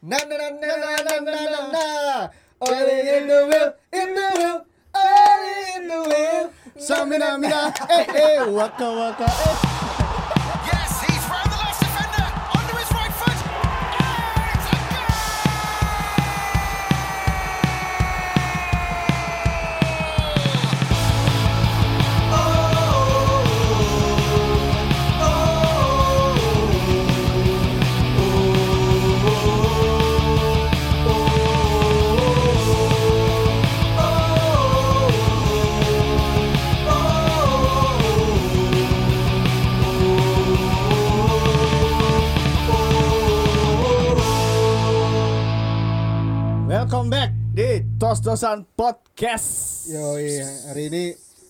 Na na na na na na na na na. Only in the will, in the will, only in the will. Samina mina, eh eh, waka waka. Eh. Yes, he's round the last defender. Under his right foot. And it's a goal! Welcome back di Tos Tosan Podcast. Yo iya, hari ini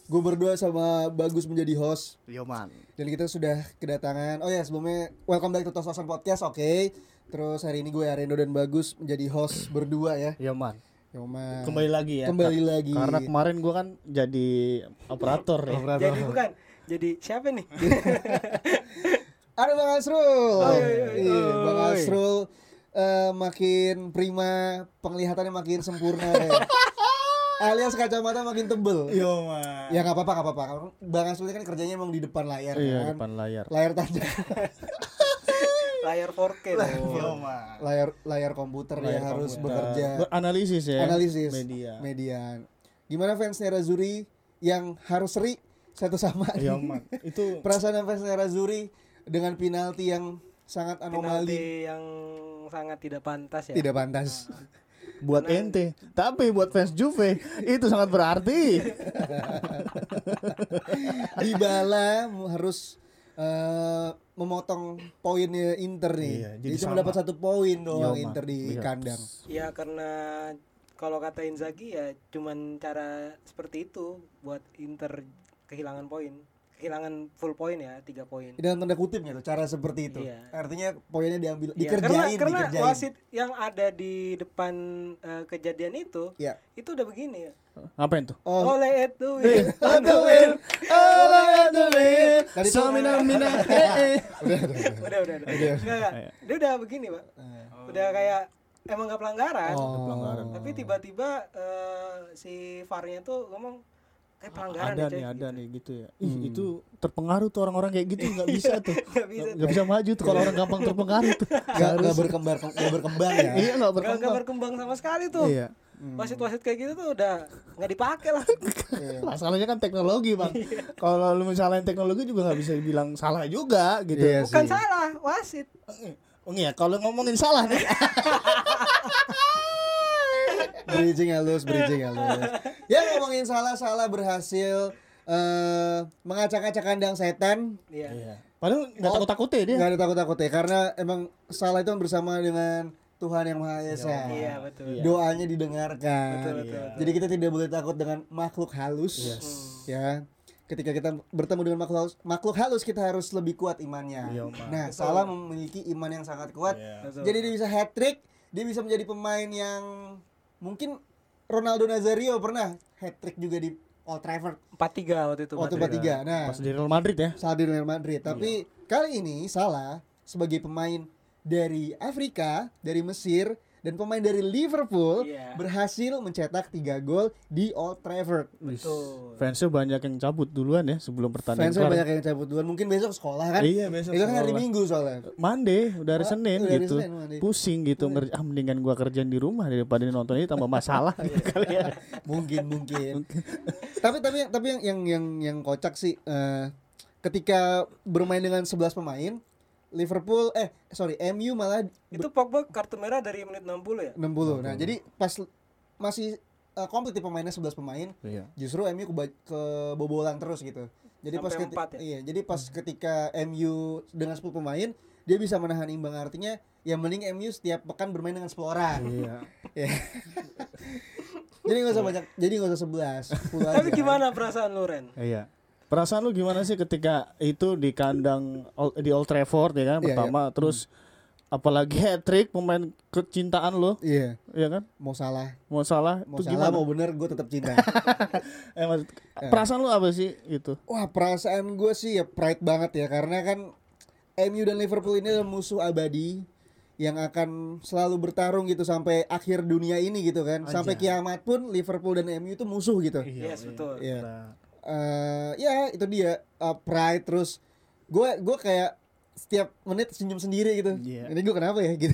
gue berdua sama Bagus menjadi host Yoman. dan kita sudah kedatangan. Oh ya sebelumnya welcome back to Tos Tosan Podcast, oke. Terus hari ini gue Arendo dan Bagus menjadi host berdua ya. Yoman. Yoma. Kembali lagi ya. Kembali lagi. Karena kemarin gua kan jadi operator ya. Jadi bukan. Jadi siapa nih? Ada Bang Asrul. Oh, Iya, Bang Asrul eh, makin prima, penglihatannya makin sempurna ya. Alias kacamata makin tebel. Iya. Yoman. Ya nggak apa-apa, nggak apa-apa. Bang Asrul kan kerjanya emang di depan layar kan. Iya, depan layar. Layar tanda. Layar 4K. dong. Yoman. layar layar komputer Layar yang harus komputer. bekerja Beranalisis ya. analisis Media. median gimana fans Nerazuri yang harus seri satu sama nih? Yoman. Iya, Itu perasaan fans Nerazuri dengan penalti yang sangat Penalti anomali yang sangat tidak pantas ya. tidak pantas buat ente tapi buat fans Juve itu sangat berarti Dybala harus eh, memotong poinnya Inter nih Iya, jadi jadi, cuma sama. dapat satu poin doang Yoman. Inter di Iya. kandang Ya karena kalau kata Inzaghi ya cuman cara seperti itu buat Inter kehilangan poin. Kehilangan full poin ya, 3 poin. dalam tanda kutip gitu cara seperti itu Iya. artinya poinnya diambil Iya, dikerjain karena, karena dikerjain wasit yang ada di depan eh, kejadian itu Iya. itu udah begini ya. ngapain tuh Oh. Oleh itu on the wheel all on the wheel so mina mina eh eh udah udah udah. Enggak, enggak. Dia udah begini, Pak. Udah kayak emang nggak pelanggaran. Tapi tiba-tiba eh, si VAR-nya tuh ngomong kayak pelanggaran ada deh, coy. nih ada nih gitu ya Ih, Hmm. itu terpengaruh tuh orang-orang kayak gitu nggak bisa tuh Nggak bisa. nggak bisa maju tuh kalau orang gampang terpengaruh tuh nggak nggak berkembar nggak berkembang ya iya nggak Nggak nggak berkembang berkembang sama sekali tuh. iya Wasit-wasit kayak gitu tuh udah nggak dipakai lah. masalahnya kan teknologi bang kalau lu misalnya teknologi juga nggak bisa dibilang salah juga gitu Iya Bukan salah wasit. Oh iya, kalau ngomongin salah nih. Bridging halus, bridging halus. Ya ngomongin salah-salah berhasil eh mengacak-acak kandang setan. Iya. Padahal nggak takut-takutnya dia. Gak ada takut-takutnya karena emang salah itu bersama dengan Tuhan yang Maha Esa. Iya, betul. Doanya didengarkan. Iya. Betul, betul, betul. Jadi kita tidak boleh takut dengan makhluk halus. Ya. Ketika kita bertemu dengan makhluk halus, makhluk halus kita harus lebih kuat imannya. Iya, Om. nah, salah memiliki iman yang sangat kuat. Iya. Betul. Jadi dia bisa hat trick, dia bisa menjadi pemain yang mungkin Ronaldo Nazario pernah hat trick juga di Old Trafford 4-3 waktu itu. waktu Madrid. 4-3. Nah, Pas di Real Madrid ya. saat di Real Madrid. Tapi kali ini salah sebagai pemain dari Afrika, dari Mesir dan pemain dari Liverpool Iya. berhasil mencetak 3 gol di Old Trafford. Betul. Fansnya banyak yang cabut duluan ya sebelum pertandingan. Fansnya kelar. banyak yang cabut duluan. Mungkin besok sekolah kan? Iya, besok Itu kan hari sekolah. Minggu soalnya. Mande udah hari Senin Oh, udah hari gitu. Senin, Iya. Mande. Pusing gitu ngerja ah mendingan gua kerjaan di rumah daripada nonton ini tambah masalah gitu kali ya. mungkin mungkin tapi tapi tapi yang yang yang yang kocak sih eh, ketika bermain dengan 11 pemain Liverpool eh sorry MU malah Itu Pogba kartu merah dari menit 60 ya. 60 nah jadi pas masih eh, komplit di pemainnya 11 pemain Iya. justru MU keba- kebobolan terus gitu jadi pas Sampai keti- empat ya? iya jadi pas ketika MU dengan 10 pemain dia bisa menahan imbang artinya ya mending MU setiap pekan bermain dengan 10 orang Iya. Iya. jadi nggak usah banyak jadi nggak usah 11 10 Tapi aja. gimana perasaan lu, Ren? Iya. Perasaan lu gimana sih ketika itu di kandang Ol- di Old Trafford ya kan Iya, pertama terus apalagi hat trick pemain kecintaan lu Iya, ya kan? mau salah, Mau salah mau itu salah gimana? mau bener gue tetap cinta. Eh, maksud- Iya. perasaan lu apa sih gitu? Wah perasaan gue sih ya pride banget ya karena kan MU dan Liverpool ini adalah musuh abadi yang akan selalu bertarung gitu sampai akhir dunia ini gitu kan. Sampai kiamat pun Liverpool dan MU itu musuh gitu. Yes, betul. Iya. Eh, ya itu dia Eh, pride terus gue gue kayak setiap menit senyum sendiri gitu. Iya. Ini gue kenapa ya gitu.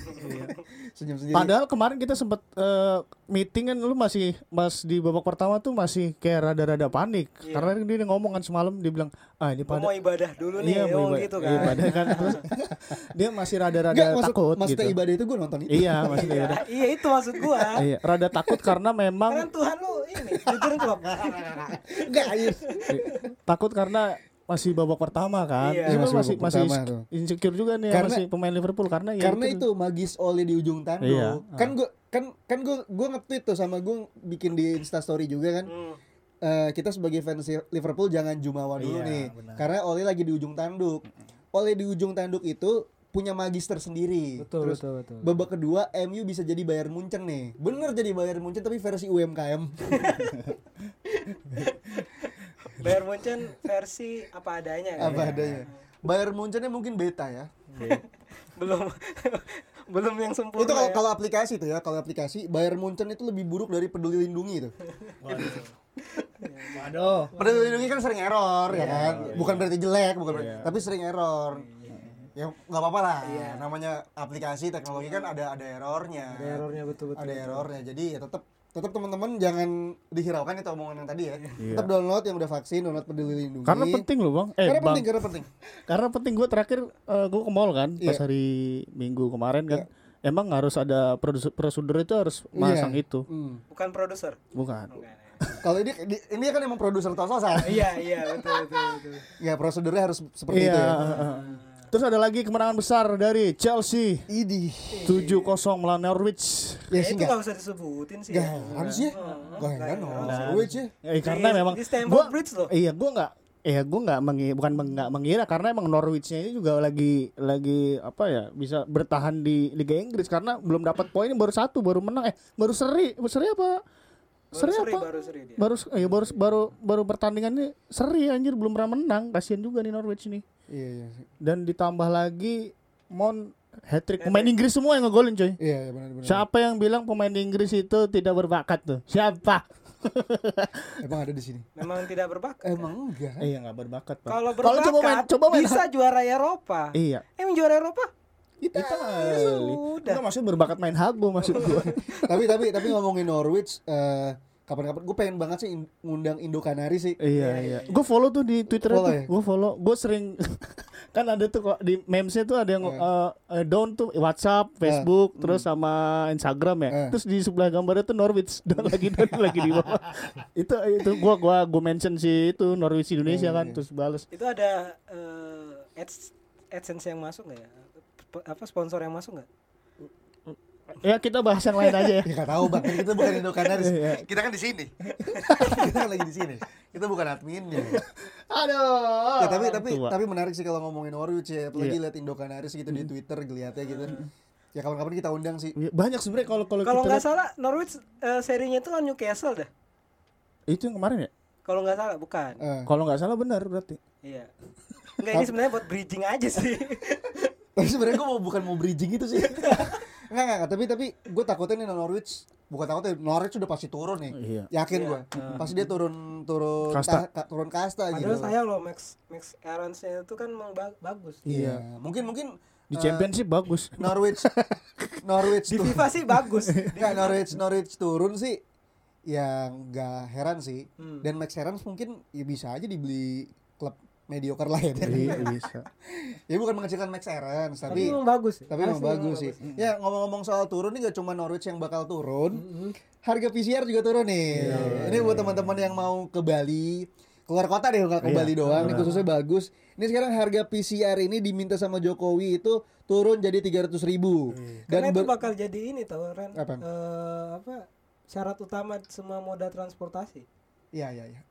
senyum sendiri. Padahal kemarin kita sempet eh, meeting kan lu masih mas di babak pertama tuh masih kayak rada-rada panik karena dia ngomong kan semalam dia bilang ah ini Iya. Gua pada mau ibadah dulu nih, Iya, ngomong ibadah- gitu iya, kan. ibadah kan. Terus dia masih rada-rada Nggak, maksud, takut gitu. maksudnya ibadah itu gue nonton itu. Iya, maksudnya Iya, ibadah. iya itu maksud gua. Iya, rada takut karena memang Kan Tuhan lu ini, jujur klub. Enggak, iya. takut karena masih babak pertama kan. Iya. Masih Itu masih babak masih pertama tuh. insecure juga nih ya, Karena- masih pemain Liverpool karena ya Karena itu magis Oli di ujung tanduk. Iya. Kan gue kan kan gue gue nge-tweet tuh sama gue bikin di Insta story juga kan. Hmm. Eh, kita sebagai fans Liverpool jangan jumawa dulu Iya, nih. benar. Karena Oli lagi di ujung tanduk. Oli di ujung tanduk itu punya magis tersendiri. Betul, Terus betul, betul. babak kedua MU bisa jadi Bayern Munchen nih. Bener jadi Bayern Munchen tapi versi UMKM. Bayern Munchen versi apa adanya kan. Apa adanya. Bayern Munchennya mungkin beta ya. Belum belum yang sempurna. itu kalau ya. kalau aplikasi tuh ya, kalau aplikasi Bayern Munchen itu lebih buruk dari Peduli Lindungi tuh. Waduh. Peduli Lindungi kan sering error ya kan. Bukan berarti jelek, bukan berarti- tapi sering error. Ya nggak apa-apa lah. Namanya aplikasi teknologi kan ada ada errornya. Ada errornya betul-betul. Ada errornya. Jadi ya tetap tetap teman-teman jangan dihiraukan itu omongan yang tadi ya. Tetap download yang udah vaksin, download Peduli Lindungi. Karena penting loh, Bang. Eh, karena Bang. penting, karena penting. Karena penting gue terakhir eh, gue ke mall kan Iya. pas hari Minggu kemarin kan. Emang harus ada prosedur prosedur itu harus Iya. masang itu. Hmm. Bukan produser. Bukan. Kalau ini di- ini kan emang produser tososan. Iya, iya, betul betul betul. ya prosedurnya harus seperti Iya. itu ya. heeh. Terus ada lagi kemenangan besar dari Chelsea Idi. 7-0 melawan Norwich. Ya Eh, sih itu enggak. nggak usah disebutin sih. Enggak ya. harus ya. Enggak heran orang Norwich ya. Eh, karena Di- memang Iya, di Stamford gua, Bridge loh. Iya, gua nggak Iya, gua nggak mengi, bukan meng- nggak mengira karena emang Norwichnya ini juga lagi lagi apa ya bisa bertahan di Liga Inggris karena belum dapat poin baru satu baru menang eh baru seri seri apa Baru seri, seri, apa baru seri dia. ya, baru eh, baru baru baru pertandingan ini seri anjir belum pernah menang kasihan juga nih Norwich nih Iya iya. dan ditambah lagi Mon hat trick pemain Inggris semua yang ngegolin coy Iya iya, benar benar. Siapa yang bilang pemain Inggris itu tidak berbakat tuh? Siapa? Emang ada di sini. Memang tidak berbakat. Emang enggak. Iya nggak berbakat Pak. Kalau coba berbakat main, coba main. bisa juara Eropa. Iya. Emang juara Eropa? Itali. sudah. Enggak maksud berbakat main hago maksud gua. tapi tapi tapi ngomongin Norwich eh, kapan-kapan gue pengen banget sih in- ngundang Indo Kanari sih. iya, iya. Gua follow tuh di Twitter Follow tuh. ya? Gua follow. Gua sering kan ada tuh kok di memesnya tuh ada yang eh, eh, down tuh WhatsApp, Facebook, terus sama Instagram ya. Eh. Terus di sebelah gambarnya tuh Norwich down lagi down lagi di bawah. itu itu gua gua gua mention si itu Norwich Indonesia kan terus bales. Itu ada eh, ads AdSense yang masuk nggak ya? P- apa sponsor yang masuk nggak? Ya kita bahas yang lain aja ya. Ya nggak tahu bahkan kita bukan Indo Kanari. Iya, kita kan di sini. kita kan lagi di sini. Kita bukan adminnya. Aduh. Ya, tapi tapi Tua. tapi menarik sih kalau ngomongin Norwich ya, apalagi lihat Indo Kanaris gitu di Twitter geliatnya gitu. Ya kapan-kapan kita undang sih. Iya, banyak sebenarnya kalau kalau kita Kalau nggak lihat- salah Norwich eh, serinya itu lawan Newcastle dah. itu yang kemarin ya. Kalau nggak salah bukan. Eh, Kalau nggak salah benar berarti. Iya. Enggak ini sebenarnya buat bridging aja sih. tapi sebenarnya gue mau bukan mau bridging itu sih. Enggak enggak, enggak, tapi tapi gue takutnya nih Norwich bukan takutnya Norwich udah pasti turun nih. Iya. Yakin gue. Pasti dia turun turun Kasta. ta- ka- turun kasta gitu. Padahal saya loh Max Max Aaronsnya itu kan memang ba- bagus. Iya. Mungkin mungkin Di eh, championship bagus. Norwich Norwich tu- Di FIFA sih bagus. Nggak, Norwich Norwich turun sih ya nggak heran sih. Dan Max Herans mungkin ya bisa aja dibeli klub mediocre lainnya. Iya, bisa. ya bukan mengecilkan Max Herans Tapi tapi memang bagus. tapi memang bagus sih. Ya ngomong-ngomong soal turun nih gak cuma Norwich yang bakal turun, harga PCR juga turun nih. Iya. Ini buat teman-teman yang mau ke Bali, keluar kota deh nggak ke Iya, Bali doang. Ini khususnya bagus. Ini sekarang harga PCR ini diminta sama Jokowi itu turun jadi 300.000 ribu. Iya. Karena Dan itu ber- bakal jadi ini tau Ren. Apa? Eh, apa? Syarat utama semua moda transportasi. ya ya ya.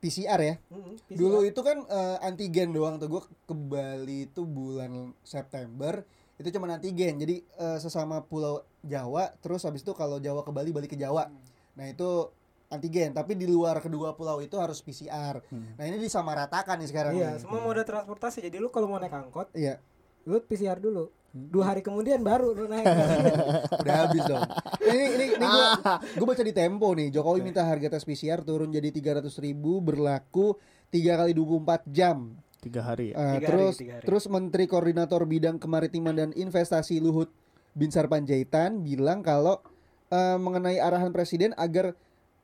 PCR ya. Mm-mm, PCR. Dulu itu kan eh, antigen doang tuh gue ke Bali itu bulan September itu cuma antigen. Jadi eh, sesama pulau Jawa terus habis itu kalau Jawa ke Bali Bali ke Jawa. Nah, itu antigen tapi di luar kedua pulau itu harus PCR. Nah, ini disamaratakan nih sekarang. Iya, nih. semua moda transportasi. Jadi lu kalau mau naik angkot, Iya. lu PCR dulu. Dua hari kemudian baru lu naik. Udah habis dong. Ini ini, ini gue gue baca di Tempo nih. Jokowi minta harga tes PCR turun jadi 300.000 ribu berlaku 3 kali 24 jam. tiga hari ya Eh, Tiga hari, terus tiga hari. terus Menteri Koordinator Bidang Kemaritiman dan Investasi Luhut Binsar Panjaitan bilang kalau eh, mengenai arahan presiden agar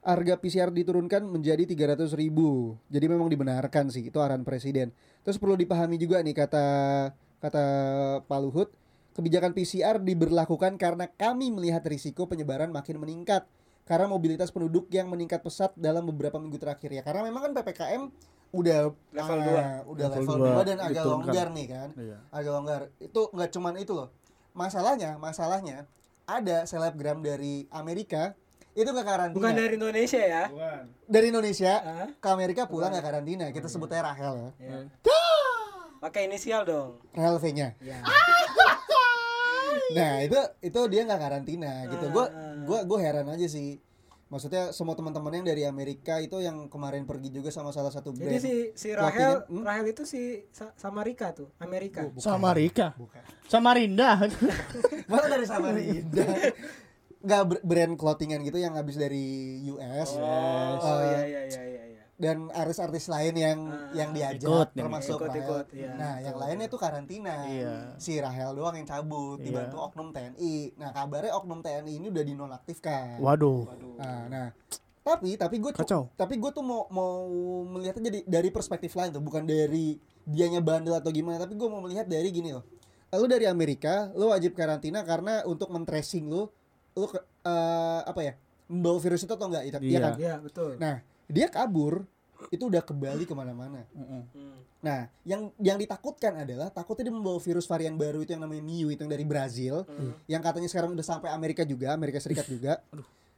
harga PCR diturunkan menjadi 300.000 ribu. Jadi memang dibenarkan sih itu arahan presiden. Terus perlu dipahami juga nih kata kata Pak Luhut, kebijakan PCR diberlakukan karena kami melihat risiko penyebaran makin meningkat karena mobilitas penduduk yang meningkat pesat dalam beberapa minggu terakhir ya. Karena memang kan PPKM udah Level ah, dua. udah Level level dua 2 dan agak diturunkan. longgar nih kan. Iya. Agak longgar. Itu nggak cuman itu loh. Masalahnya, masalahnya ada selebgram dari Amerika itu nggak karantina. Bukan dari Indonesia ya. Bukan. Dari Indonesia Hah? Oh, ke Amerika pulang nggak karantina. Kita sebut aja Rahel ya. Ya. Pakai inisial dong. Rahel V-nya. Ya. Nah, itu itu dia nggak karantina gitu. Gua Ah. gua gua heran aja sih. Maksudnya semua teman-teman yang dari Amerika itu yang kemarin pergi juga sama salah satu brand. Jadi si si Rahel, Hmm? Rahel itu si Sa- Samarika tuh, Amerika. Oh, sama Rika sama Rinda Malah dari Samarinda. Enggak brand clothingan gitu yang habis dari US. Oh, Eh, iya iya iya iya iya. dan artis-artis lain yang yang diajak ikut, yang termasuk Ah. ikut. Rahel. Ikut-ikut, iya. nah, yang lainnya tuh karantina. Iya. Si Rahel doang yang cabut dibantu oknum TNI. Nah, kabarnya oknum TNI ini udah dinonaktifkan. waduh Nah, nah. tapi tapi gue Kacau. tuh tapi gue tuh mau mau melihat jadi dari perspektif lain tuh bukan dari dianya bandel atau gimana tapi gue mau melihat dari gini loh lu dari Amerika lu wajib karantina karena untuk men-tracing lu lu ke- eh, apa ya membawa virus itu atau enggak iya Iya. kan? Iya, betul. nah dia kabur itu udah ke Bali kemana-mana Hmm. nah yang yang ditakutkan adalah takutnya dia membawa virus varian baru itu yang namanya Miu itu yang dari Brazil yang katanya sekarang udah sampai Amerika juga, Amerika Serikat juga.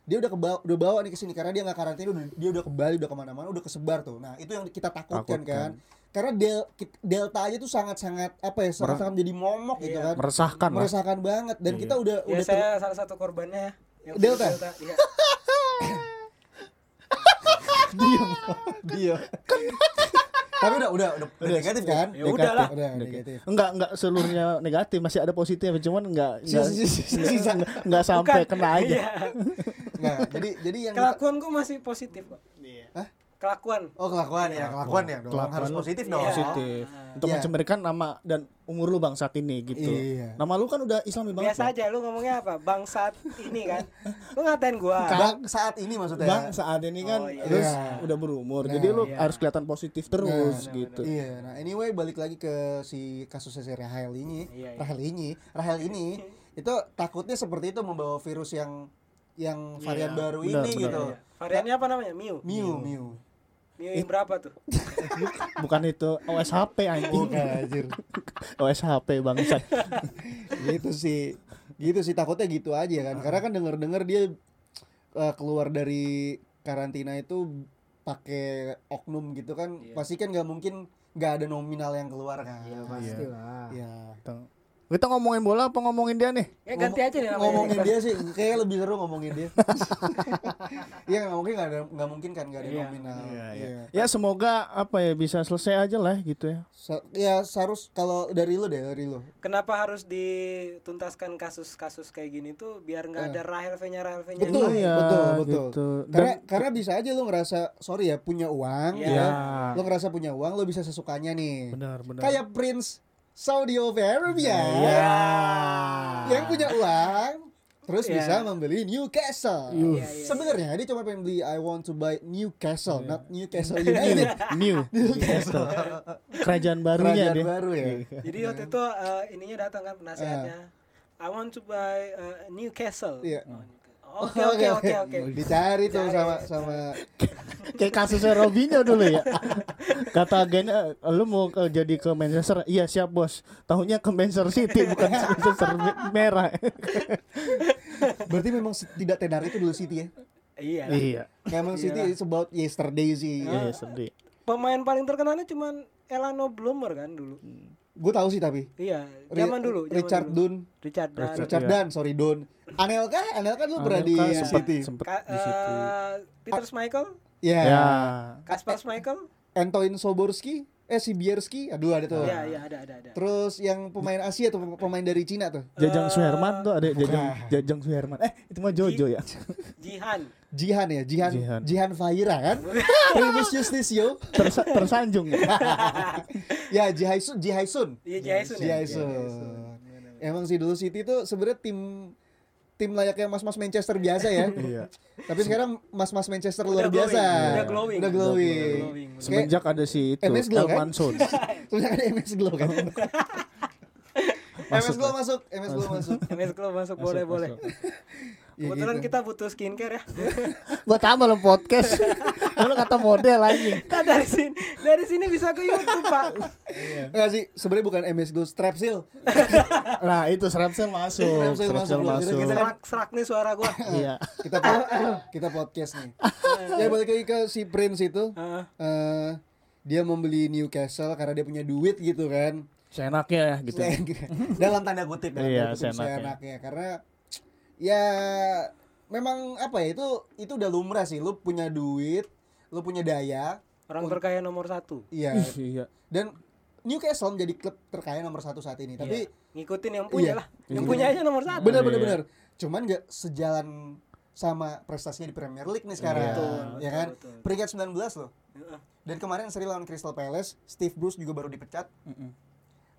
Dia udah kebawa, udah bawa nih ke sini karena dia nggak karantina, udah, dia udah ke Bali, udah kemana-mana, udah kesebar tuh. Nah itu yang kita takutkan kan, Takutkan. karena del- kit- delta aja tuh sangat-sangat apa ya, sangat-sangat jadi momok gitu Iya. kan, meresahkan lah meresahkan banget. Dan kita udah Ya udah saya salah satu korbannya ya. yang Delta? Iya. diam, diam. Eh, Tapi udah udah udah, udah negatif kan? Ya udahlah. Udah negatif. Enggak, enggak seluruhnya negatif, masih ada positifnya cuman enggak enggak Sisa-sisa enggak, enggak sampai Bukan. kena aja. Iya. Nah, jadi jadi yang kita- Kelakuan gua masih positif kok. Hah? Iya. Kelakuan. Oh kelakuan ya, kelakuan ya dong. Kelakuan Harus lu positif dong. Positif. Untuk Iya. mencemarkan nama dan umur lu bang saat ini gitu. Iya. Nama lu kan udah islami banget. Biasa aja lu ngomongnya apa? Bangsat ini kan. Lu ngatain gua. Bang, saat ini Bang. maksudnya. Bang, saat ini kan Oh, iya. Nah, terus Iya. udah berumur. jadi lu harus kelihatan positif terus gitu. Iya, nah anyway balik lagi ke si kasusnya si Rahel ini, Iya, iya. Rahel ini, Rahel ini itu takutnya seperti itu membawa virus yang yang varian baru benar, ini benar. gitu. Iya. Variannya apa namanya? Miu. Miu, Miu. Miu yang berapa tuh? Bukan itu OSHP anjing. anjir. OSHP bangsat. gitu sih. Gitu sih takutnya gitu aja kan. Karena kan denger-dengar dia eh, keluar dari karantina itu pakai oknum gitu kan. Pasti kan nggak mungkin nggak ada nominal yang keluar kan. Iya, Pasti lah. Kita ngomongin bola apa ngomongin dia nih? Ya ganti aja nih namanya. ngomongin dia sih kayaknya lebih seru ngomongin dia iya nggak mungkin nggak ada nggak mungkin kan nggak ada nominal iya Ya semoga apa ya bisa selesai aja lah gitu ya. Sa- ya harus kalau dari lu deh dari lu Kenapa harus dituntaskan kasus-kasus kayak gini tuh biar nggak ada Rahel V-nya Rahel Iya. V-nya betul yang lain. iya, betul betul gitu. karena karena bisa aja lu ngerasa sorry ya punya uang Iya. ya lu ngerasa punya uang lu bisa sesukanya nih Benar, benar. kayak Prince Saudi Arabia ya. yang punya uang terus Iya. bisa membeli Newcastle. Iya, iya, Sebenarnya dia cuma pengen beli I want to buy Newcastle, not Newcastle United. New Newcastle. Kerajaan barunya Iya. Kerajaan dia. baru ya. Jadi waktu itu eh, ininya datang kan penasehatnya. I want to buy eh, Newcastle. Ah. Iya. Oh, Oke oke oke oke. Dicari tuh sama sama Kayak kasusnya Robinho dulu ya. Kata agennya "Eh, lu mau ke- jadi ke Manchester? Iya siap bos. Tahunya ke Manchester City bukan Manchester me- merah. berarti memang se- tidak tenar itu dulu City ya. Iya. iya. Memang City is about yesterday sih. Iya sedih. Pemain paling terkenalnya cuman Elano Bloomer kan dulu. Gue tahu sih tapi Iya, Ri- zaman dulu. zaman Richard dulu. Dunn, Richard Dunn. Richard Iya. Dunn, sorry Dunn. Anelka, Anelka dulu pernah di Anelka sempat- City. Kan Sempet Ka- di situ. eh, Peter Schmeichel, Ya. Ya. Kaspar Schmeichel, Antoine Soborski, eh eh si Bierski, aduh ada tuh. Iya, iya ada ada ada. Terus yang pemain Asia atau pemain dari Cina tuh? Jajang Suherman tuh ada Jajang Jajang Suherman. Eh, itu mah Jojo ya. Jihan. Jihan ya, Jihan Jihan. Jihan, Fahira kan? Primus Justisio. Tersa- tersanjung ya. ya, Jihaisun, Jihaisun. Iya, Jihan. Jihaisun. Emang sih dulu City tuh sebenarnya tim tim layaknya mas-mas Manchester biasa ya. Iya. Tapi sekarang mas-mas Manchester luar glowing, biasa. udah glowing. Iya. Udah glowing. Udah glowing, udah Kayak- Semenjak ada si itu MS Glow, kan? Elmanson. Sebenarnya ada MS Glow kan. MS Glow masuk, MS Glow masuk. MS Iya. Club masuk boleh boleh. Ya Iya, Kebetulan gitu. kita butuh skincare ya. Buat apa lo podcast? Lo kata model anjing. Kita Nah, dari sini dari sini bisa ke YouTube pak. Enggak sih, sebenarnya bukan MS Glow, Strepsil. Nah, itu Strepsil masuk. Strepsil Strepsil masuk, masuk. kira-kira Serak serak nih suara gua. Iya. kita po- kita podcast nih. ya balik lagi ke si Prince itu. Heeh. eh, dia membeli Newcastle karena dia punya duit gitu kan. Seenaknya ya gitu. dalam tanda kutip dalam tanda Iya, kutip seenaknya. seenaknya. karena ya memang apa ya itu itu udah lumrah sih lu punya duit lu punya daya Orang terkaya nomor satu. iya Ih, Iya. dan Newcastle menjadi klub terkaya nomor satu saat ini tapi Ngikutin yang Iya. punya lah. Yang punya aja nomor satu. bener bener Iya. bener cuman nggak sejalan sama prestasinya di Premier League nih sekarang Iya. Betul, ya betul, kan betul. peringkat 19 loh Iya. Heeh. dan kemarin seri lawan Crystal Palace Steve Bruce juga baru dipecat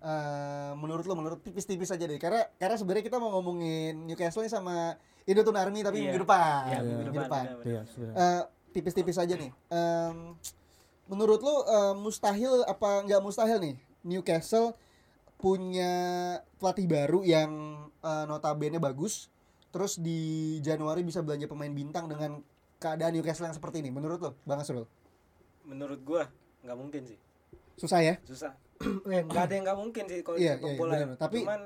Eh, menurut lo menurut tipis-tipis aja deh karena karena sebenarnya kita mau ngomongin Newcastle nih sama Indoton Army tapi Iya. minggu depan Iya, minggu depan, bener, bener. Iya, sebenarnya. Eh, tipis-tipis aja nih Em, menurut lo eh, mustahil apa nggak mustahil nih Newcastle punya pelatih baru yang eh, notabene bagus terus di Januari bisa belanja pemain bintang dengan keadaan Newcastle yang seperti ini menurut lo Bang Asrul Menurut gua nggak mungkin sih. susah ya Susah. Eh, nggak ada yang nggak mungkin sih kalau di Iya, sepak iya, bola. ya. bener. Tapi- Cuman,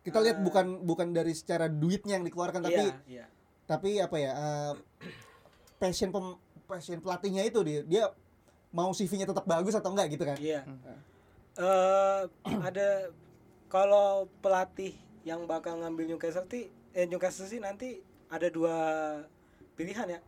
kita lihat eh, bukan bukan dari secara duitnya yang dikeluarkan tapi iya, iya. tapi apa ya eh, passion pem, passion pelatihnya itu dia dia mau CV-nya tetap bagus atau enggak gitu kan Iya. Eh, ada kalau pelatih yang bakal ngambil Newcastle ti- eh, Newcastle sih nanti ada dua pilihan ya.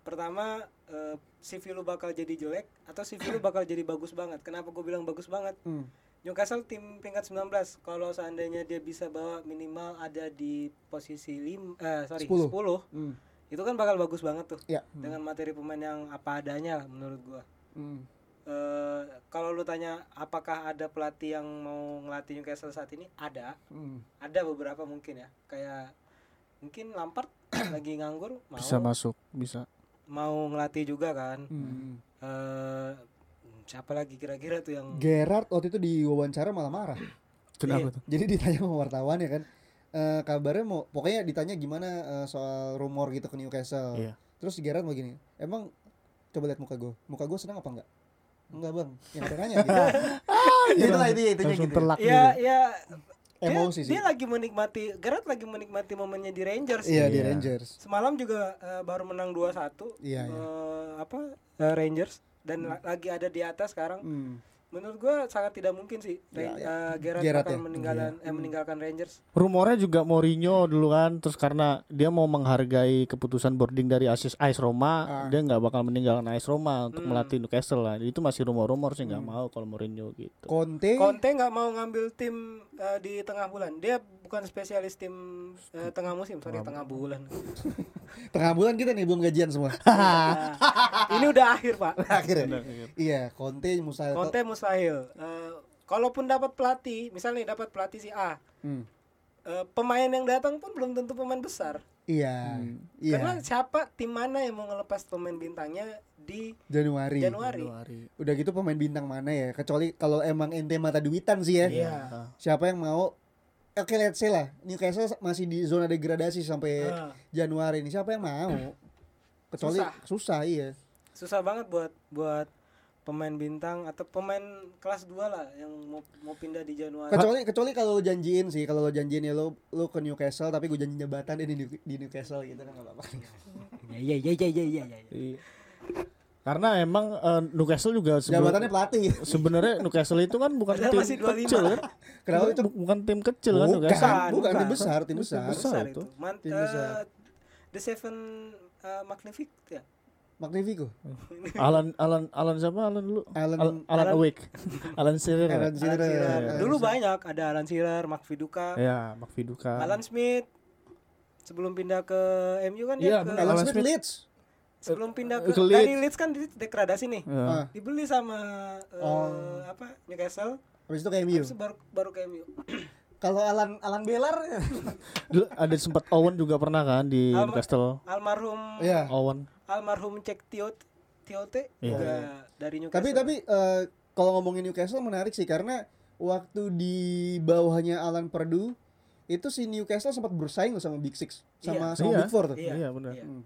Pertama eh, CV lu bakal jadi jelek atau CV lu bakal jadi bagus banget. Kenapa gue bilang bagus banget? Hmm. Newcastle tim peringkat 19 kalau seandainya dia bisa bawa minimal ada di posisi lim eh sorry 10. Sepuluh. Hmm. Itu kan bakal bagus banget tuh. Ya. Dengan materi pemain yang apa adanya lah menurut gua. Eh, kalau lu tanya apakah ada pelatih yang mau ngelatih Newcastle saat ini? Ada. Ada beberapa mungkin ya. Kayak mungkin Lampard lagi nganggur mau Bisa masuk, bisa. mau ngelatih juga kan. Hmm. Hmm. Eh, siapa lagi kira-kira tuh yang Gerard waktu itu diwawancara malah marah Iya. Kenapa tuh? jadi ditanya sama wartawan ya kan eh, kabarnya mau pokoknya ditanya gimana eh, soal rumor gitu ke Newcastle Iya. terus Gerard mau gini emang coba lihat muka gue muka gue senang apa enggak enggak bang yang tanya gitu itulah intinya intinya Langsung gitu telak Ya, gitu. ya dia- Emosi sih. Dia lagi menikmati, Gerard lagi menikmati momennya di Rangers. iya di Iya. Rangers Semalam juga eh, baru menang 2-1. Iya, iya. eh, apa? eh, Rangers dan la- lagi ada di atas sekarang. Hmm. Iya, Menurut gua sangat tidak mungkin sih Ra- eh, Gerard, Gerard akan ya? Hmm. meninggalkan eh, meninggalkan Rangers. Rumornya juga Mourinho dulu kan, terus karena dia mau menghargai keputusan boarding dari Asis AS Roma, dia nggak bakal meninggalkan AS Roma untuk Hmm. melatih Newcastle lah. Itu masih rumor-rumor sih nggak mau kalau Mourinho gitu. Conte Conte nggak mau ngambil tim eh, di tengah bulan. Dia bukan spesialis tim eh, tengah musim, sorry tengah bulan. tengah bulan kita nih belum gajian semua Nah, ini udah akhir, Pak. akhirnya iya Conte Musa Conte mustahil. Eh, kalaupun dapat pelatih, misalnya dapat pelatih si A, Hmm. eh, pemain yang datang pun belum tentu pemain besar. iya Hmm. iya Karena siapa tim mana yang mau ngelepas pemain bintangnya di Januari. Januari? udah gitu pemain bintang mana ya kecuali kalau emang ente mata duitan sih ya Iya. siapa yang mau oke let's say lah Newcastle masih di zona degradasi sampai Ah. Januari ini siapa yang mau kecuali Susah. susah, iya Susah banget buat buat pemain bintang atau pemain kelas 2 lah yang mau, mau pindah di Januari. kecuali kecuali kalau lo janjiin sih kalau lo janjiin ya lo lo ke Newcastle tapi gue janji jabatan ini di, di Newcastle gitu kan nggak apa-apa Iya iya iya iya iya ya. iya. Karena emang eh, Newcastle juga sebelum- jabatannya pelatih sebenarnya Newcastle itu kan bukan Padahal tim masih 25. kecil kan? Kenapa Bukan- itu? bukan tim kecil kan bukan, Newcastle? Bukan, bukan, bukan. tim besar tim besar besar Besar itu. itu. Man, Tim eh, besar. The Seven eh, Magnific ya. Magnifico. Alan Alan Alan siapa Alan dulu Alan- Al- Alan Alan- Awake Alan Shearer Alan Alan Shearer. Shearer. Alan Dulu banyak ada Alan Shearer, Mark Viduka, ya Mark Viduka Alan Smith. Sebelum pindah ke MU kan Iya, dia ke- benar. Alan Alan Smith Smith. Leeds. sebelum pindah Eh, ke, ke Leeds. dari Leeds kan Leeds degradasi nih. Ya. Ah, Dibeli sama eh, Oh. Iya. apa Newcastle, habis itu kayak MU. terus baru baru ke MU. Kalau Alan Alan Belar ya. Dulu ada sempat Owen juga pernah kan di Al- Newcastle Almarhum ya. Owen almarhum Cek Tio Tiote Iya. juga dari Newcastle. Tapi tapi eh, kalau ngomongin Newcastle menarik sih karena waktu di bawahnya Alan Perdue itu si Newcastle sempat bersaing loh sama Big Six sama Iya. sama Big Four tuh. Iya. iya benar Iya, iya.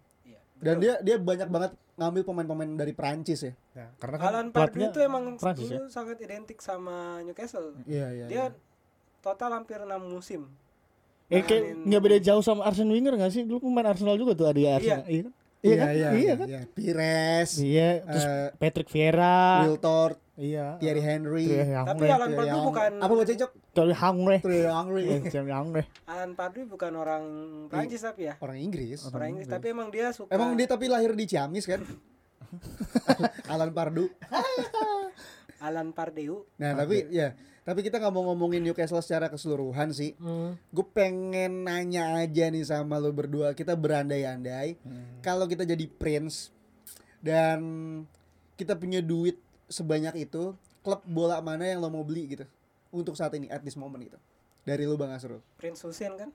Dan Betul. dia dia banyak banget ngambil pemain-pemain dari Perancis ya. Ya, karena kan Alan Pardew pelatihnya itu emang Prancis ya dulu sangat identik sama Newcastle. Iya iya. Dia total hampir enam musim. eh kayak Alan- nggak beda jauh sama Arsene Wenger nggak sih dulu pemain Arsenal juga tuh ada ya Arsenal iya kan? Iya kan? iya. iya Iya kan? Pires, Iya, terus eh, Patrick Vieira, Will Tord, iya, Thierry Henry. Thierry Henry. Tapi Alan Thierry Pardew Henry. bukan apa baca cok? Thierry Henry. Thierry Henry. Eh, Thierry Henry. Alan Pardew bukan orang Prancis tapi ya. Orang Inggris. Orang Inggris, tapi emang dia suka Emang dia tapi lahir di Ciamis kan? Alan Pardu. Alan Pardew. Nah, tapi ya, tapi kita nggak mau ngomongin Newcastle secara keseluruhan sih. Gue pengen nanya aja nih sama lo berdua. Kita berandai-andai Hmm, kalau kita jadi prince dan kita punya duit sebanyak itu, klub bola mana yang lo mau beli gitu untuk saat ini at this moment gitu. Dari lo Bang Asrul. Prince Hussein kan?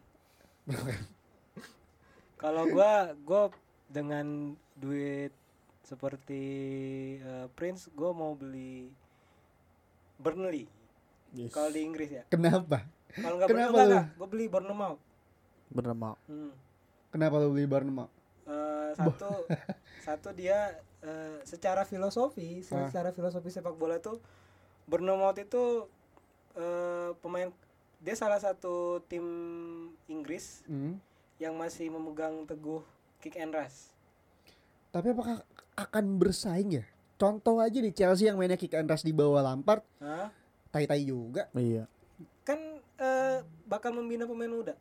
Kalau gua gua dengan duit seperti eh, Prince gua mau beli Burnley. Yes. Kalau di Inggris ya. Kenapa? Kalau nggak Kenapa Burnley lu? enggak, gua beli Bournemouth. Bernama Hmm. Kenapa lo beli Barnum? Eh, satu satu dia eh, secara filosofi, secara filosofi sepak bola itu Bournemouth itu eh, pemain dia salah satu tim Inggris Hmm. yang masih memegang teguh kick and rush. Tapi apakah akan bersaing ya? Contoh aja di Chelsea yang mainnya kick and rush di bawah Lampard, Hah? tai-tai juga. Iya. Kan eh, bakal membina pemain muda.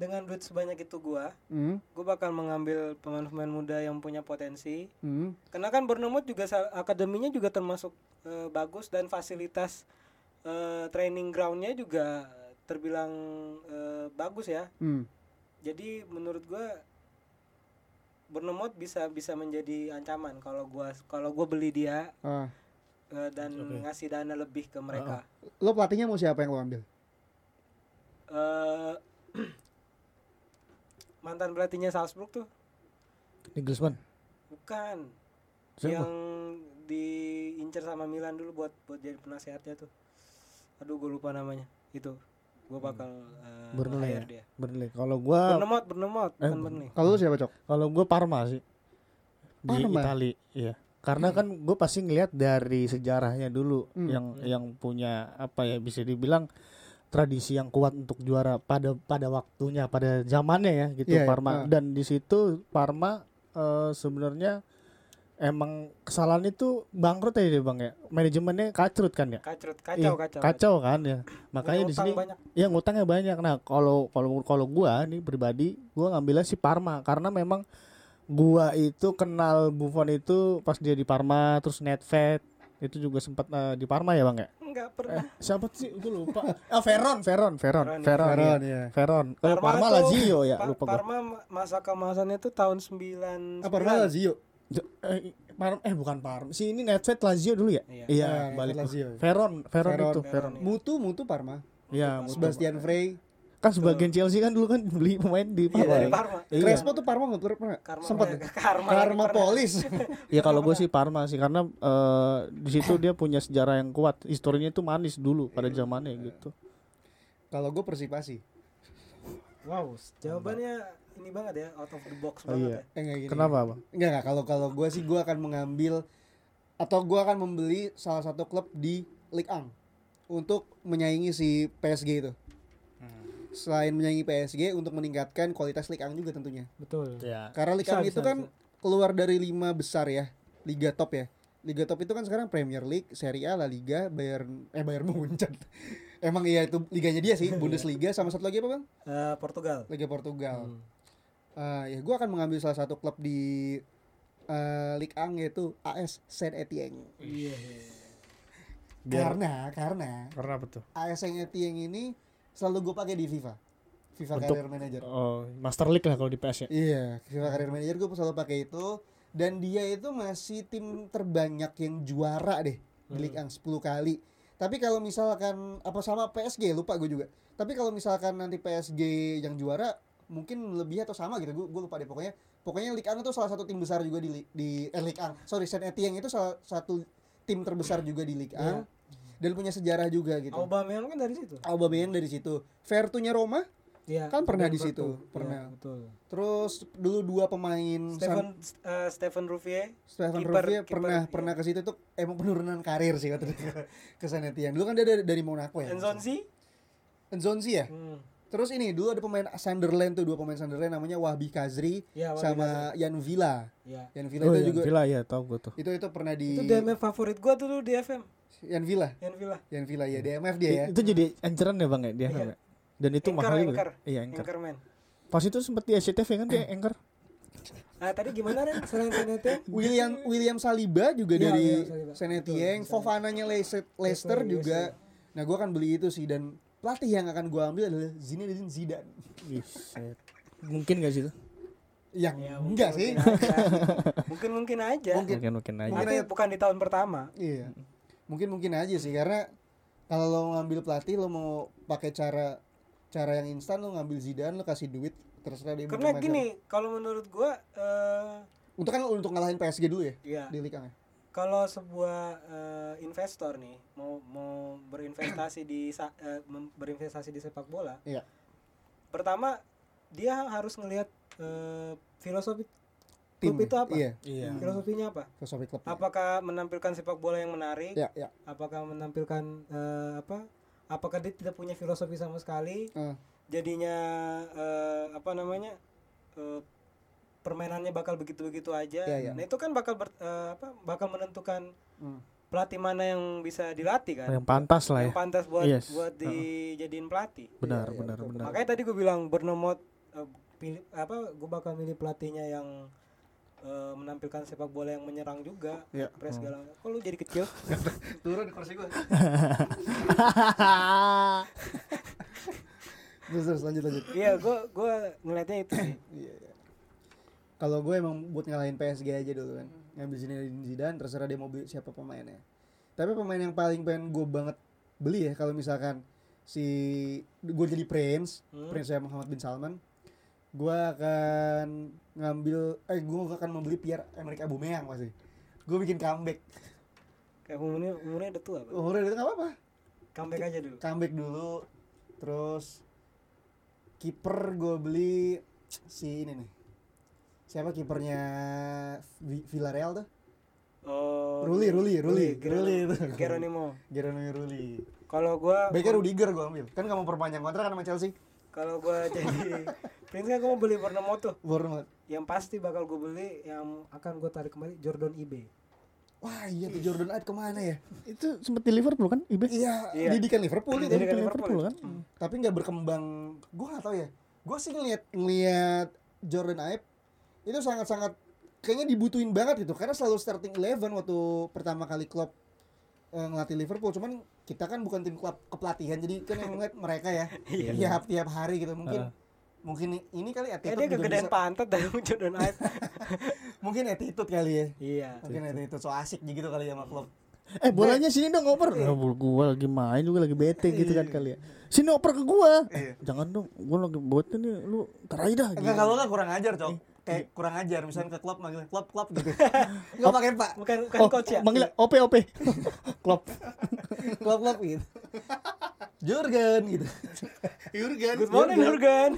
Dengan duit sebanyak itu gua, Hmm. gua bakal mengambil pemain-pemain muda yang punya potensi. Hmm. Karena kan Bournemouth juga sa- akademinya juga termasuk eh, bagus dan fasilitas eh, training groundnya juga terbilang eh, bagus ya. Hmm. Jadi menurut gua Bournemouth bisa bisa menjadi ancaman kalau gua kalau gua beli dia Ah. eh, dan ngasih dana lebih ke mereka. Lo pelatihnya mau siapa yang lo ambil? eh mantan pelatihnya Salzburg tuh Nagelsmann. bukan Siapa? yang diincar sama Milan dulu buat buat jadi penasehatnya tuh aduh gue lupa namanya itu gue bakal eh, Burnley Hmm. ya. Ah. Eh, hire dia Burnley. Kalau gua Bernemot Bernemot bukan Burnley Kalau lo siapa cok? kalau gua Parma sih. Di Oh, ya? Parma? Itali, iya. Hmm. Karena kan gue pasti ngelihat dari sejarahnya dulu yang yang punya apa ya bisa dibilang tradisi yang kuat untuk juara pada pada waktunya, pada zamannya ya gitu Iya, iya. Parma. Ah. Dan di situ Parma eh, sebenarnya emang kesalahan itu bangkrut ya dia, Bang ya. Manajemennya kacrut kan ya. kacau kacau Iya, kacau kan ya. Makanya di utang sini banyak. ya ngutangnya banyak. Nah, kalau kalau kalau gua nih pribadi, gua ngambilnya si Parma karena memang gua itu kenal Buffon itu pas dia di Parma, terus Netfed itu juga sempat eh, di Parma ya, Bang ya? nggak pernah Siapa sih? Gue lupa. Ah, Veron, Veron, Veron, Veron, Veron. Veron. ya. Veron. Eh, Parma tuh- Lazio ya, Pa- lupa gua. Ah, Parma ma- masa kemasannya tuh tahun 9 Apa Ah, Parma Lazio? Eh, Parma- eh bukan Parma. Si ini Netfed Lazio dulu ya? Iya. Ah, Iya, Nedved balik. Lazio. Veron, Veron, Veron. itu, Veron, Veron. iya. Mutu Mutu Parma. Iya, Mustafa. Sebastian Frey. kan sebagian Chelsea kan dulu kan beli pemain di Parma. dari kan? Parma. Iya. Crespo tuh Parma nggak pernah. Karma Sempet. pernah. Karma Karma pernah. Polis. Ya kalau gue sih Parma sih karena eh, di situ dia punya sejarah yang kuat. Historinya itu manis dulu pada zamannya gitu. Kalau gue persipasi. wow jawabannya ini banget ya out of the box banget ya Eh, nggak gini. Kenapa, Bang? Enggak enggak kalau kalau gue sih gue akan mengambil atau gue akan membeli salah satu klub di Ligue 1 untuk menyaingi si PSG itu. Hmm. Selain menyaingi PSG untuk meningkatkan kualitas Ligue 1 juga tentunya. betul Ya. Karena Ligue Bisa, 1 itu bisa, kan keluar dari lima besar ya, liga top ya. Liga top itu kan sekarang Premier League, Serie A, La Liga, Bayern eh Bayern Munchen. Emang iya itu liganya dia sih, Bundesliga sama satu lagi apa bang? Eh, Portugal Hmm. Eh, Liga Portugal. Ah, ya gue akan mengambil salah satu klub di eh, Ligue 1 yaitu AS Saint Etienne. Iya. Biar- Karena karena Karena apa tuh? AS Saint Etienne ini selalu gue pakai di FIFA. FIFA Untuk- Career Manager. Oh, Master League lah kalau di PS ya. Iya, FIFA Career Manager gue selalu pakai itu dan dia itu masih tim terbanyak yang juara deh di Ligue 1 10 kali. Tapi kalau misalkan apa sama PSG lupa gue juga. Tapi kalau misalkan nanti PSG yang juara mungkin lebih atau sama gitu. Gue gue lupa deh pokoknya. Pokoknya Ligue 1 itu salah satu tim besar juga di li- di eh, Ligue 1. Sorry, Saint Etienne itu salah satu tim terbesar juga di Ligue 1 dan punya sejarah juga gitu. Aubameyang kan dari situ. Aubameyang dari situ. Vertunya Roma Iya. Kan pernah di Liverpool. situ, Iya, pernah. Hmm, betul. terus dulu dua pemain Stephen eh, Stephen Ruffier. Stefan Kiper- Rovia kiper, pernah iya. pernah ke situ tuh emang penurunan karir sih waktu itu ke Sanetian. Dulu kan dia dari, dari Monaco ya. Enzonzi. Enzonzi ya. Hmm. Terus ini dulu ada pemain Sunderland tuh dua pemain Sunderland namanya Wahbi Kazri Iya, Wahbi sama Yan Villa. Iya. Yan Villa Oh, Nah, itu iya, juga Villa ya, tau gue tuh. itu itu pernah di Itu DMF favorit gua tuh dulu di FM. Yan Villa. Yan Villa. Yan Villa ya DMF dia ya. Itu jadi ancaran ya Bang ya dia. Iya. namanya? Dan itu Anchor, mahal juga. anchor. Iya, anchor. Anchorman. Pas itu sempet di SCTV kan dia anchor. Nah, tadi gimana Ren? Selain Sanete? William William Saliba juga Iya, dari William Saliba. Senetieng, Fofana-nya Leicester, Leicester juga. Nah, gua akan beli itu sih dan pelatih yang akan gua ambil adalah Zinedine Zidane. Ih, set. Mungkin gak sih itu? Yang Ya, enggak sih. Mungkin mungkin aja. Mungkin mungkin aja. Tapi bukan di tahun pertama. Iya. Mungkin mungkin aja sih karena kalau lo ngambil pelatih lo mau pakai cara cara yang instan lo ngambil Zidane lo kasih duit terserah dia mau Karena main gini, kalau menurut gua eh siapa. Untuk kan untuk ngalahin PSG dulu ya ya di Liga ya. kalau sebuah eh, investor nih mau mau berinvestasi di sa- eh, mem- berinvestasi di sepak bola, Iya. pertama dia harus ngelihat eh, filosofi Tim klub itu apa? Iya. Iya. Filosofinya apa? Filosofi klub. Apakah menampilkan sepak bola yang menarik? Ya, ya. Apakah menampilkan eh, apa? Apakah dia tidak punya filosofi sama sekali? Eh, Jadinya eh, apa namanya? eh, permainannya bakal begitu-begitu aja. Iya, iya. Nah, itu kan bakal ber- eh, apa? bakal menentukan hmm. pelatih mana yang bisa dilatih kan? Yang pantas lah ya. Yang pantas buat Yes. buat dijadiin pelatih. Iya, Benar, iya, benar, betul, benar. Makanya tadi gue bilang bernomor eh, pilih apa gue bakal milih pelatihnya yang eh, menampilkan sepak bola yang menyerang juga. Iya. Press galang. Kok lu jadi kecil? Turun kursi gua. terus, terus lanjut lanjut. Iya, gua gua ngelihatnya itu sih. Iya, iya. Kalau gue emang buat ngalahin PSG aja dulu kan. Ngambil Zinedine Zidane terserah dia mau beli siapa pemainnya. Tapi pemain yang paling pengen gue banget beli ya kalau misalkan si gue jadi prince, prince saya Muhammad bin Salman, gue akan ngambil eh gue akan membeli Pierre Emerick Aubameyang pasti. Gue bikin comeback. Kayak umurnya umurnya udah tua, Bang. Umurnya itu nggak apa-apa. Comeback aja dulu. Comeback dulu. Terus kiper gue beli si ini nih. Siapa kipernya Vi- Villarreal tuh? Oh, Ruli, Ruli, Ruli, Ruli itu. Geronimo. Geronimo Iya, Ruli. Kalau gua Baiknya Rudiger gue ambil. Kan gak mau perpanjang kontrak kan sama Chelsea. kalau gua jadi Prince kan gua mau beli Bernomo tuh. Bournemouth. Yang pasti bakal gue beli yang akan gue tarik kembali Jordan Ibe. Wah iya tuh Jordan Aid kemana ya? itu sempet di Liverpool kan? Ibe? Iya, Iya. didikan Liverpool Hmm. itu. Didikan Liverpool, Liverpool Hmm. kan? Tapi nggak berkembang. Gue nggak tahu ya. Gue sih ngeliat ngeliat Jordan Aid itu sangat-sangat kayaknya dibutuhin banget gitu karena selalu starting eleven waktu pertama kali Klopp eh, ngelatih Liverpool cuman kita kan bukan tim klub kepelatihan jadi kan yang ngeliat mereka ya tiap tiap hari gitu mungkin mungkin ini kali Iya. Eh attitude dia juga kegedean bisa- pantat dari Jordan Ibe. mungkin attitude kali ya iya. mungkin attitude so asik gitu kali ya sama Klopp Eh bolanya sini dong oper. Ya, bol gua lagi main juga lagi bete gitu kan kali ya. Sini oper ke gua. Eh, Jangan dong, gua lagi bete nih lu ntar aja dah. Enggak gitu. kalau enggak kurang ajar, Cok. Kayak kurang ajar misalnya ke klub manggil klub klub gitu. Enggak pakai Pak. Bukan bukan Oh, coach ya. manggil OP OP. Klop. Klub klub gitu. Jurgen gitu. Jurgen. Good morning Jurgen.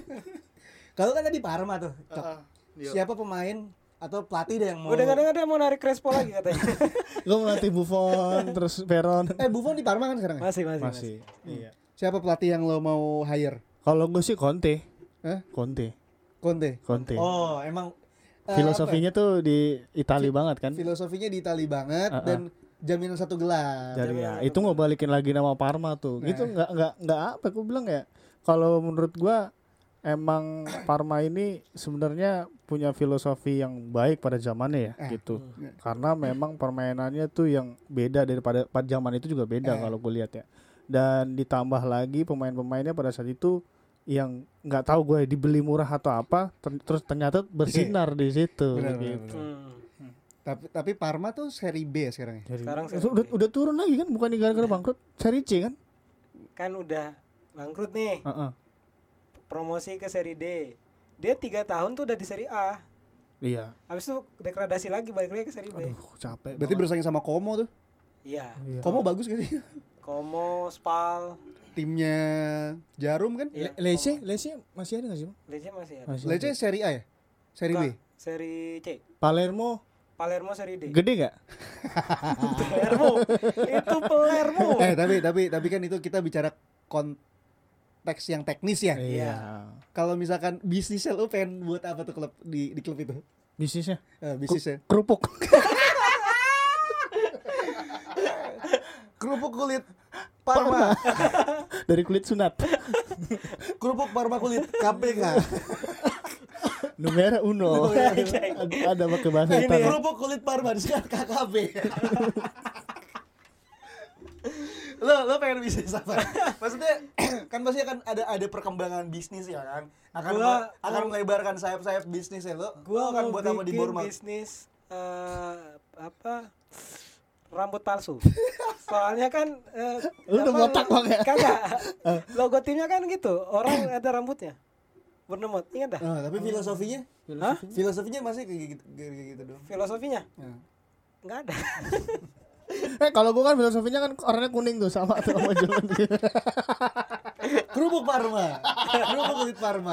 Kalau kan tadi Parma tuh, Cok. Siapa pemain atau pelatih deh yang mau Udah dengar-dengar dia mau narik Crespo lagi katanya. Gua melatih Buffon terus Veron. Eh Buffon di Parma kan sekarang. ya? masih, masih, masih. Masih. Iya. Siapa pelatih yang lo mau hire? Kalau gua sih Conte. Hah? Conte. Conte. Conte. Oh, emang eh, Filosofinya tuh di Itali banget kan? apa? filosofinya di Itali banget Uh-uh. dan jaminan satu gelar. Jadi ya itu nggak Nah. balikin lagi nama Parma tuh. Gitu nggak nggak nggak apa? Gue bilang ya. Kalau menurut gua emang Parma ini sebenarnya punya filosofi yang baik pada zamannya ya Eh, gitu. hmm. Iya. Karena memang permainannya tuh yang beda daripada pada zaman itu juga Eh. beda kalau gue lihat ya. Dan ditambah lagi pemain-pemainnya pada saat itu yang nggak tahu gue dibeli murah atau apa ter- terus ternyata bersinar di Iya. situ Benar, benar, gitu. Hmm. Tapi tapi Parma tuh seri B sekarang ya. Jadi- Sekarang seri udah, B. udah turun lagi kan bukan gara-gara bangkrut seri C kan? Kan udah bangkrut nih. Heeh. Promosi ke seri D. Dia tiga tahun tuh udah di seri A. Iya. Habis itu degradasi lagi balik lagi ke seri B. Aduh, capek. Berarti bersaing sama Como tuh. Iya. Iya. Como bagus gak sih? Komo, Spal, Timnya Jarum kan? Iya. Lece, Lece masih ada nggak sih? Bang? Lece masih ada. Masih ada. Lece seri A ya? Seri B. Enggak, seri C. Palermo, Palermo seri D. Gede nggak? Palermo. itu Palermo. Eh tapi tapi tapi kan itu kita bicara konteks yang teknis ya. Iya. Kalau misalkan bisnisnya lu pengen buat apa tuh klub di di klub itu? Bisnisnya Eh, bisnisnya kerupuk. kerupuk kulit Parma. Dari kulit sunat. kerupuk Parma kulit KPK Numera uno. ada, ada pakai bahasa Ini Itali. kerupuk kulit Parma di sekarang KKB lo lo pengen bisnis apa maksudnya kan pasti akan ada ada perkembangan bisnis ya kan akan Gua- akan melebarkan sayap-sayap bisnis ya lo lo Gua akan mau buat bikin apa di Burma bisnis eh, apa rambut palsu. Soalnya kan eh, Lu udah apa, botak, Bang, ya? Kagak. Logo timnya kan gitu, orang ada rambutnya. Bernemut, ingat dah. Ah, tapi filosofinya Hah? filosofinya masih kayak gitu, kayak gitu doang Filosofinya? Ya. Hmm. Enggak ada. Eh kalau gua kan filosofinya kan warnanya kuning tuh sama tuh sama John. kerupuk Parma kerupuk kulit Parma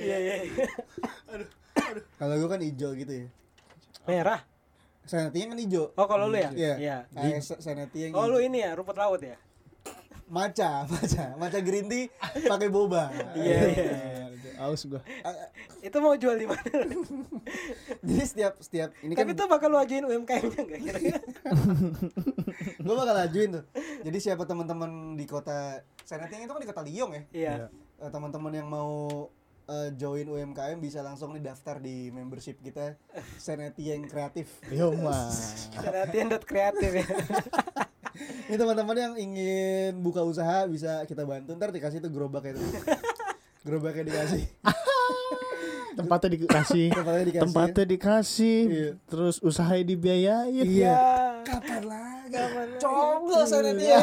Iya, iya. iya. kalau gue kan hijau gitu ya Merah. sanatinya kan hijau Oh, kalau lu ya? Iya. Iya. Kayak sa- Sanati yang Oh, lu ini ya, rumput laut ya? maca, maca, maca green tea pakai boba. Iya, iya. Aus gua. Itu mau jual di mana? Jadi setiap setiap ini Tapi kan tuh bakal lu ajuin UMKM-nya enggak kira-kira? gue bakal ajuin tuh. Jadi siapa teman-teman di kota Sanati yang itu kan di kota Lyon ya. Iya. Eh, Teman-teman yang mau eh, join UMKM bisa langsung nih daftar di membership kita Sanati yang kreatif. Yo mah. Iya. Perhatian kreatif ya. Ini teman-teman yang ingin buka usaha bisa kita bantu. Ntar dikasih tuh gerobak itu. Gerobaknya dikasih. Ah, Tempatnya dikasih. Tempatnya dikasih. Tempatnya dikasih. Iya. Terus usahanya dibiayain. Iya. Ya. Kapan lagi? Kapan lagi? Coba Sanati ya.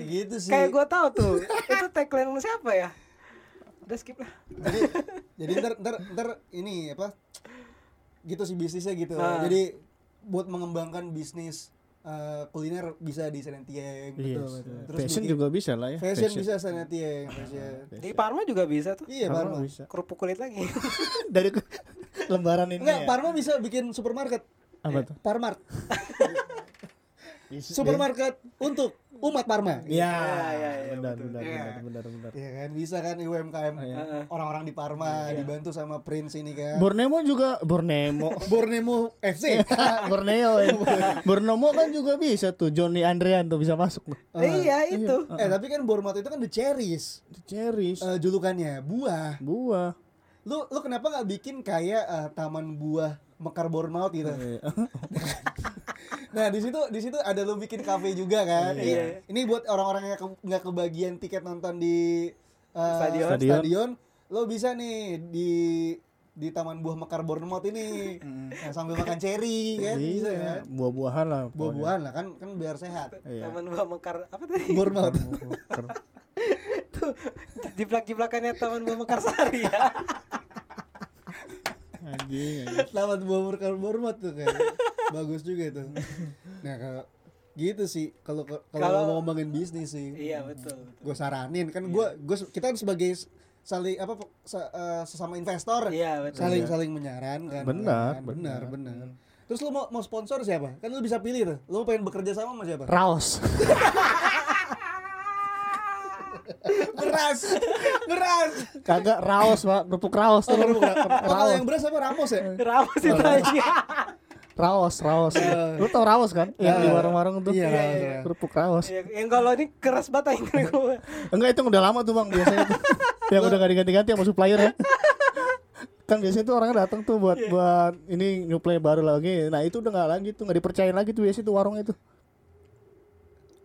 gitu sih. Kayak gua tahu tuh. itu tagline siapa ya? Udah skip lah. jadi jadi ntar ntar ntar ini apa gitu sih bisnisnya gitu Ah. jadi buat mengembangkan bisnis eh, kuliner bisa di Senetieng Iya. gitu terus Fashion bikin- juga bisa lah ya. Ah, fashion, bisa Senetieng fashion Di Parma juga bisa tuh. iya Parma Parma bisa. Kerupuk kulit lagi. Dari ke- lembaran ini. enggak ya. Parma bisa bikin supermarket Eh, Apa tuh? Iya. Parmart Iya, Bisa- supermarket untuk umat Parma Iya. iya, iya, Benar, betul. benar, Iya. benar, benar, benar. Iya kan bisa kan UMKM Ah, iya. orang-orang di Parma dibantu sama Prince ini kan Bornemo juga Bornemo. Bornemo FC Borneo ya. Bornemo kan juga bisa tuh Johnny Andrean tuh bisa masuk tuh. Ah, iya, itu. eh tapi kan Bormat itu kan the cherries Cherish eh, julukannya buah buah. lu lu kenapa nggak bikin kayak eh, taman buah Mekar Bornmaut gitu nah di situ di situ ada lu bikin kafe juga kan ini, ini buat orang-orang yang ke- nggak kebagian tiket nonton di eh, Stadion. Stadion. stadion lo bisa nih di di taman buah Mekar Bornmaut ini Nah, sambil makan ceri kan bisa Iya, kan buah-buahan lah. pokoknya. buah-buahan lah kan kan biar sehat Iya. Taman buah mekar apa tadi? Bornmaut Tuh, jiplak-jiplakannya taman buah mekar sari ya. Anjing, anjing. Selamat buah mekar Bornmaut tuh kan bagus juga itu nah kalau gitu sih kalau Kalau- kalau ngomongin bisnis sih iya, betul. betul. gue saranin kan gue gue kita kan sebagai s- saling apa pe- sa- eh, sesama investor Iya, betul. saling saling menyarankan kan? Benar, benar benar terus lu mau mau sponsor siapa kan lu bisa pilih tuh lu pengen bekerja sama sama siapa Raos. beras beras Kagak raos, Pak. Kerupuk raos tuh. Kalau raos. yang beras apa Ramos ya Kenapa sih tanya? Raos, raos. Lu tau raos kan? Yang di warung-warung tuh. Iya, raos, raos. Kerupuk raos. Iya, Yang kalau ini keras banget ini gua. Enggak itu udah lama tuh, Bang, biasanya. tuh. yang udah gak diganti-ganti sama supplier ya. kan biasanya tuh orangnya datang tuh buat buat ini new player baru lagi. Nah itu udah nggak lagi tuh nggak dipercayain lagi tuh biasanya tuh warungnya tuh.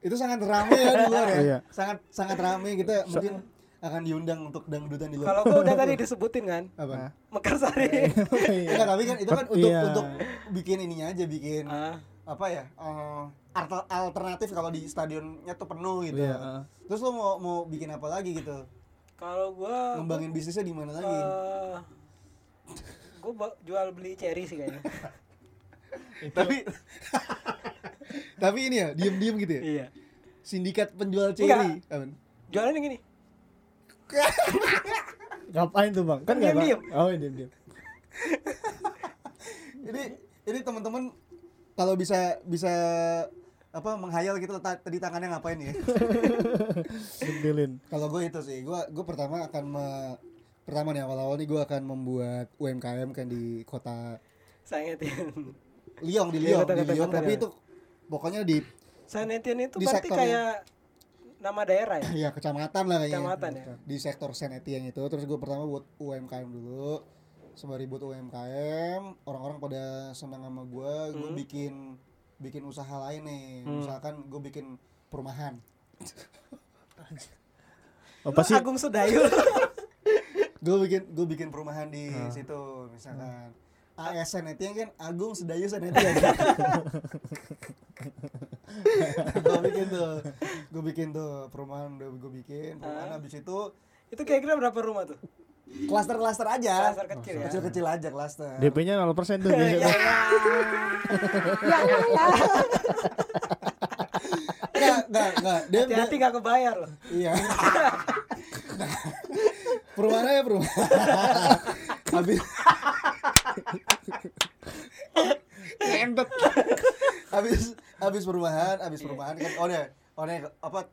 itu sangat ramai ya di luar ya. Iya. Sangat sangat ramai kita mungkin akan diundang untuk dangdutan di luar. Kalau gua udah tadi disebutin kan, Apa? Mekarsari. Enggak, tapi kan itu kan untuk Iya. untuk bikin ininya aja bikin Ah. apa ya? eh, alter- alternatif kalau di stadionnya tuh penuh gitu. Terus lo mau mau bikin apa lagi gitu? Kalau gua Ngembangin bisnisnya di mana lagi? eh, gua ba- jual beli cherry sih kayaknya. tapi tapi ini ya diem-diem gitu ya. iya. Sindikat penjual cherry. Amin. Jualannya gini. Ngapain tuh bang? Kan nggak bang? Diam-diam. Oh diam-diam. Ini ini teman-teman kalau bisa bisa apa menghayal gitu ta- tadi tangannya ngapain ya? Dibelin. Kalau gue itu sih, gue gue pertama akan me- pertama nih awal-awal nih gue akan membuat UMKM kan di kota Saya ngetin. Lyon di Lyon, Iya, kota- di kota- Lyon kota tapi ya. itu pokoknya di Saya ngetin itu Di berarti sektor kayak nama daerah ya. ya kecamatan lah kayaknya. Kecamatan ya. Di sektor Saint Etienne itu terus gue pertama buat UMKM dulu. Sembari buat UMKM, orang-orang pada senang sama gue, gue Hmm. bikin bikin usaha lain nih. Misalkan gue bikin perumahan. Apa sih? Agung Sudayu. gue bikin gue bikin perumahan di situ misalkan ASN itu kan Agung Sedayu Senetian gue bikin tuh gue bikin tuh perumahan udah gue bikin perumahan habis itu itu kira-kira berapa rumah tuh? klaster-klaster aja Klaster kecil ya. kecil-kecil aja klaster DP-nya 0% tuh biasanya. enggak enggak enggak dia, dia- Hati-hati gak kebayar loh. iya perumahan ya perumahan habis Entet. habis habis perumahan habis perumahan kan oh deh oh deh apa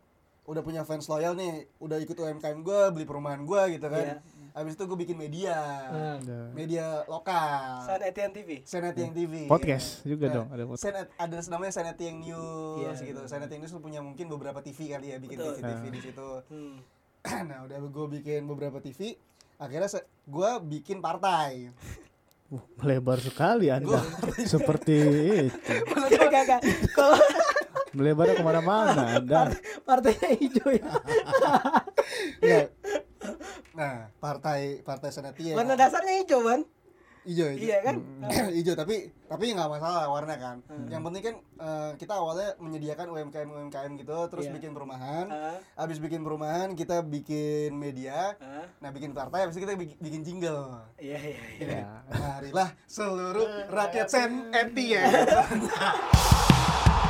udah punya fans loyal nih udah ikut UMKM gue beli perumahan gue gitu kan habis itu gue bikin media media lokal San Etienne TV. Senet yang TV Podcast juga dong, ada ada podcast. Senet ada namanya Senet yang News Iya. gitu Senet yang News lu punya mungkin beberapa TV kali ya bikin Betul. TV TV di situ Hmm. nah udah gue bikin beberapa TV akhirnya gue bikin partai Uh, melebar sekali Anda. Seperti itu. Gak, gak, gak. Kalau Melebarnya kemana-mana Anda. partainya hijau ya. Iya. nah partai partai Senetian Warna dasarnya hijau kan? Ijo, ijo. Mm. Iya kan? Hmm. ijo tapi tapi nggak masalah warna kan. Yang penting kan eh, kita awalnya menyediakan UMKM UMKM gitu, terus Iya. bikin perumahan. Ah. Habis bikin perumahan kita bikin media. Ah. Nah, bikin partai habis itu kita bikin, bikin jingle. Nah, Iya, iya, iya. Marilah seluruh rakyat Sen Etienne.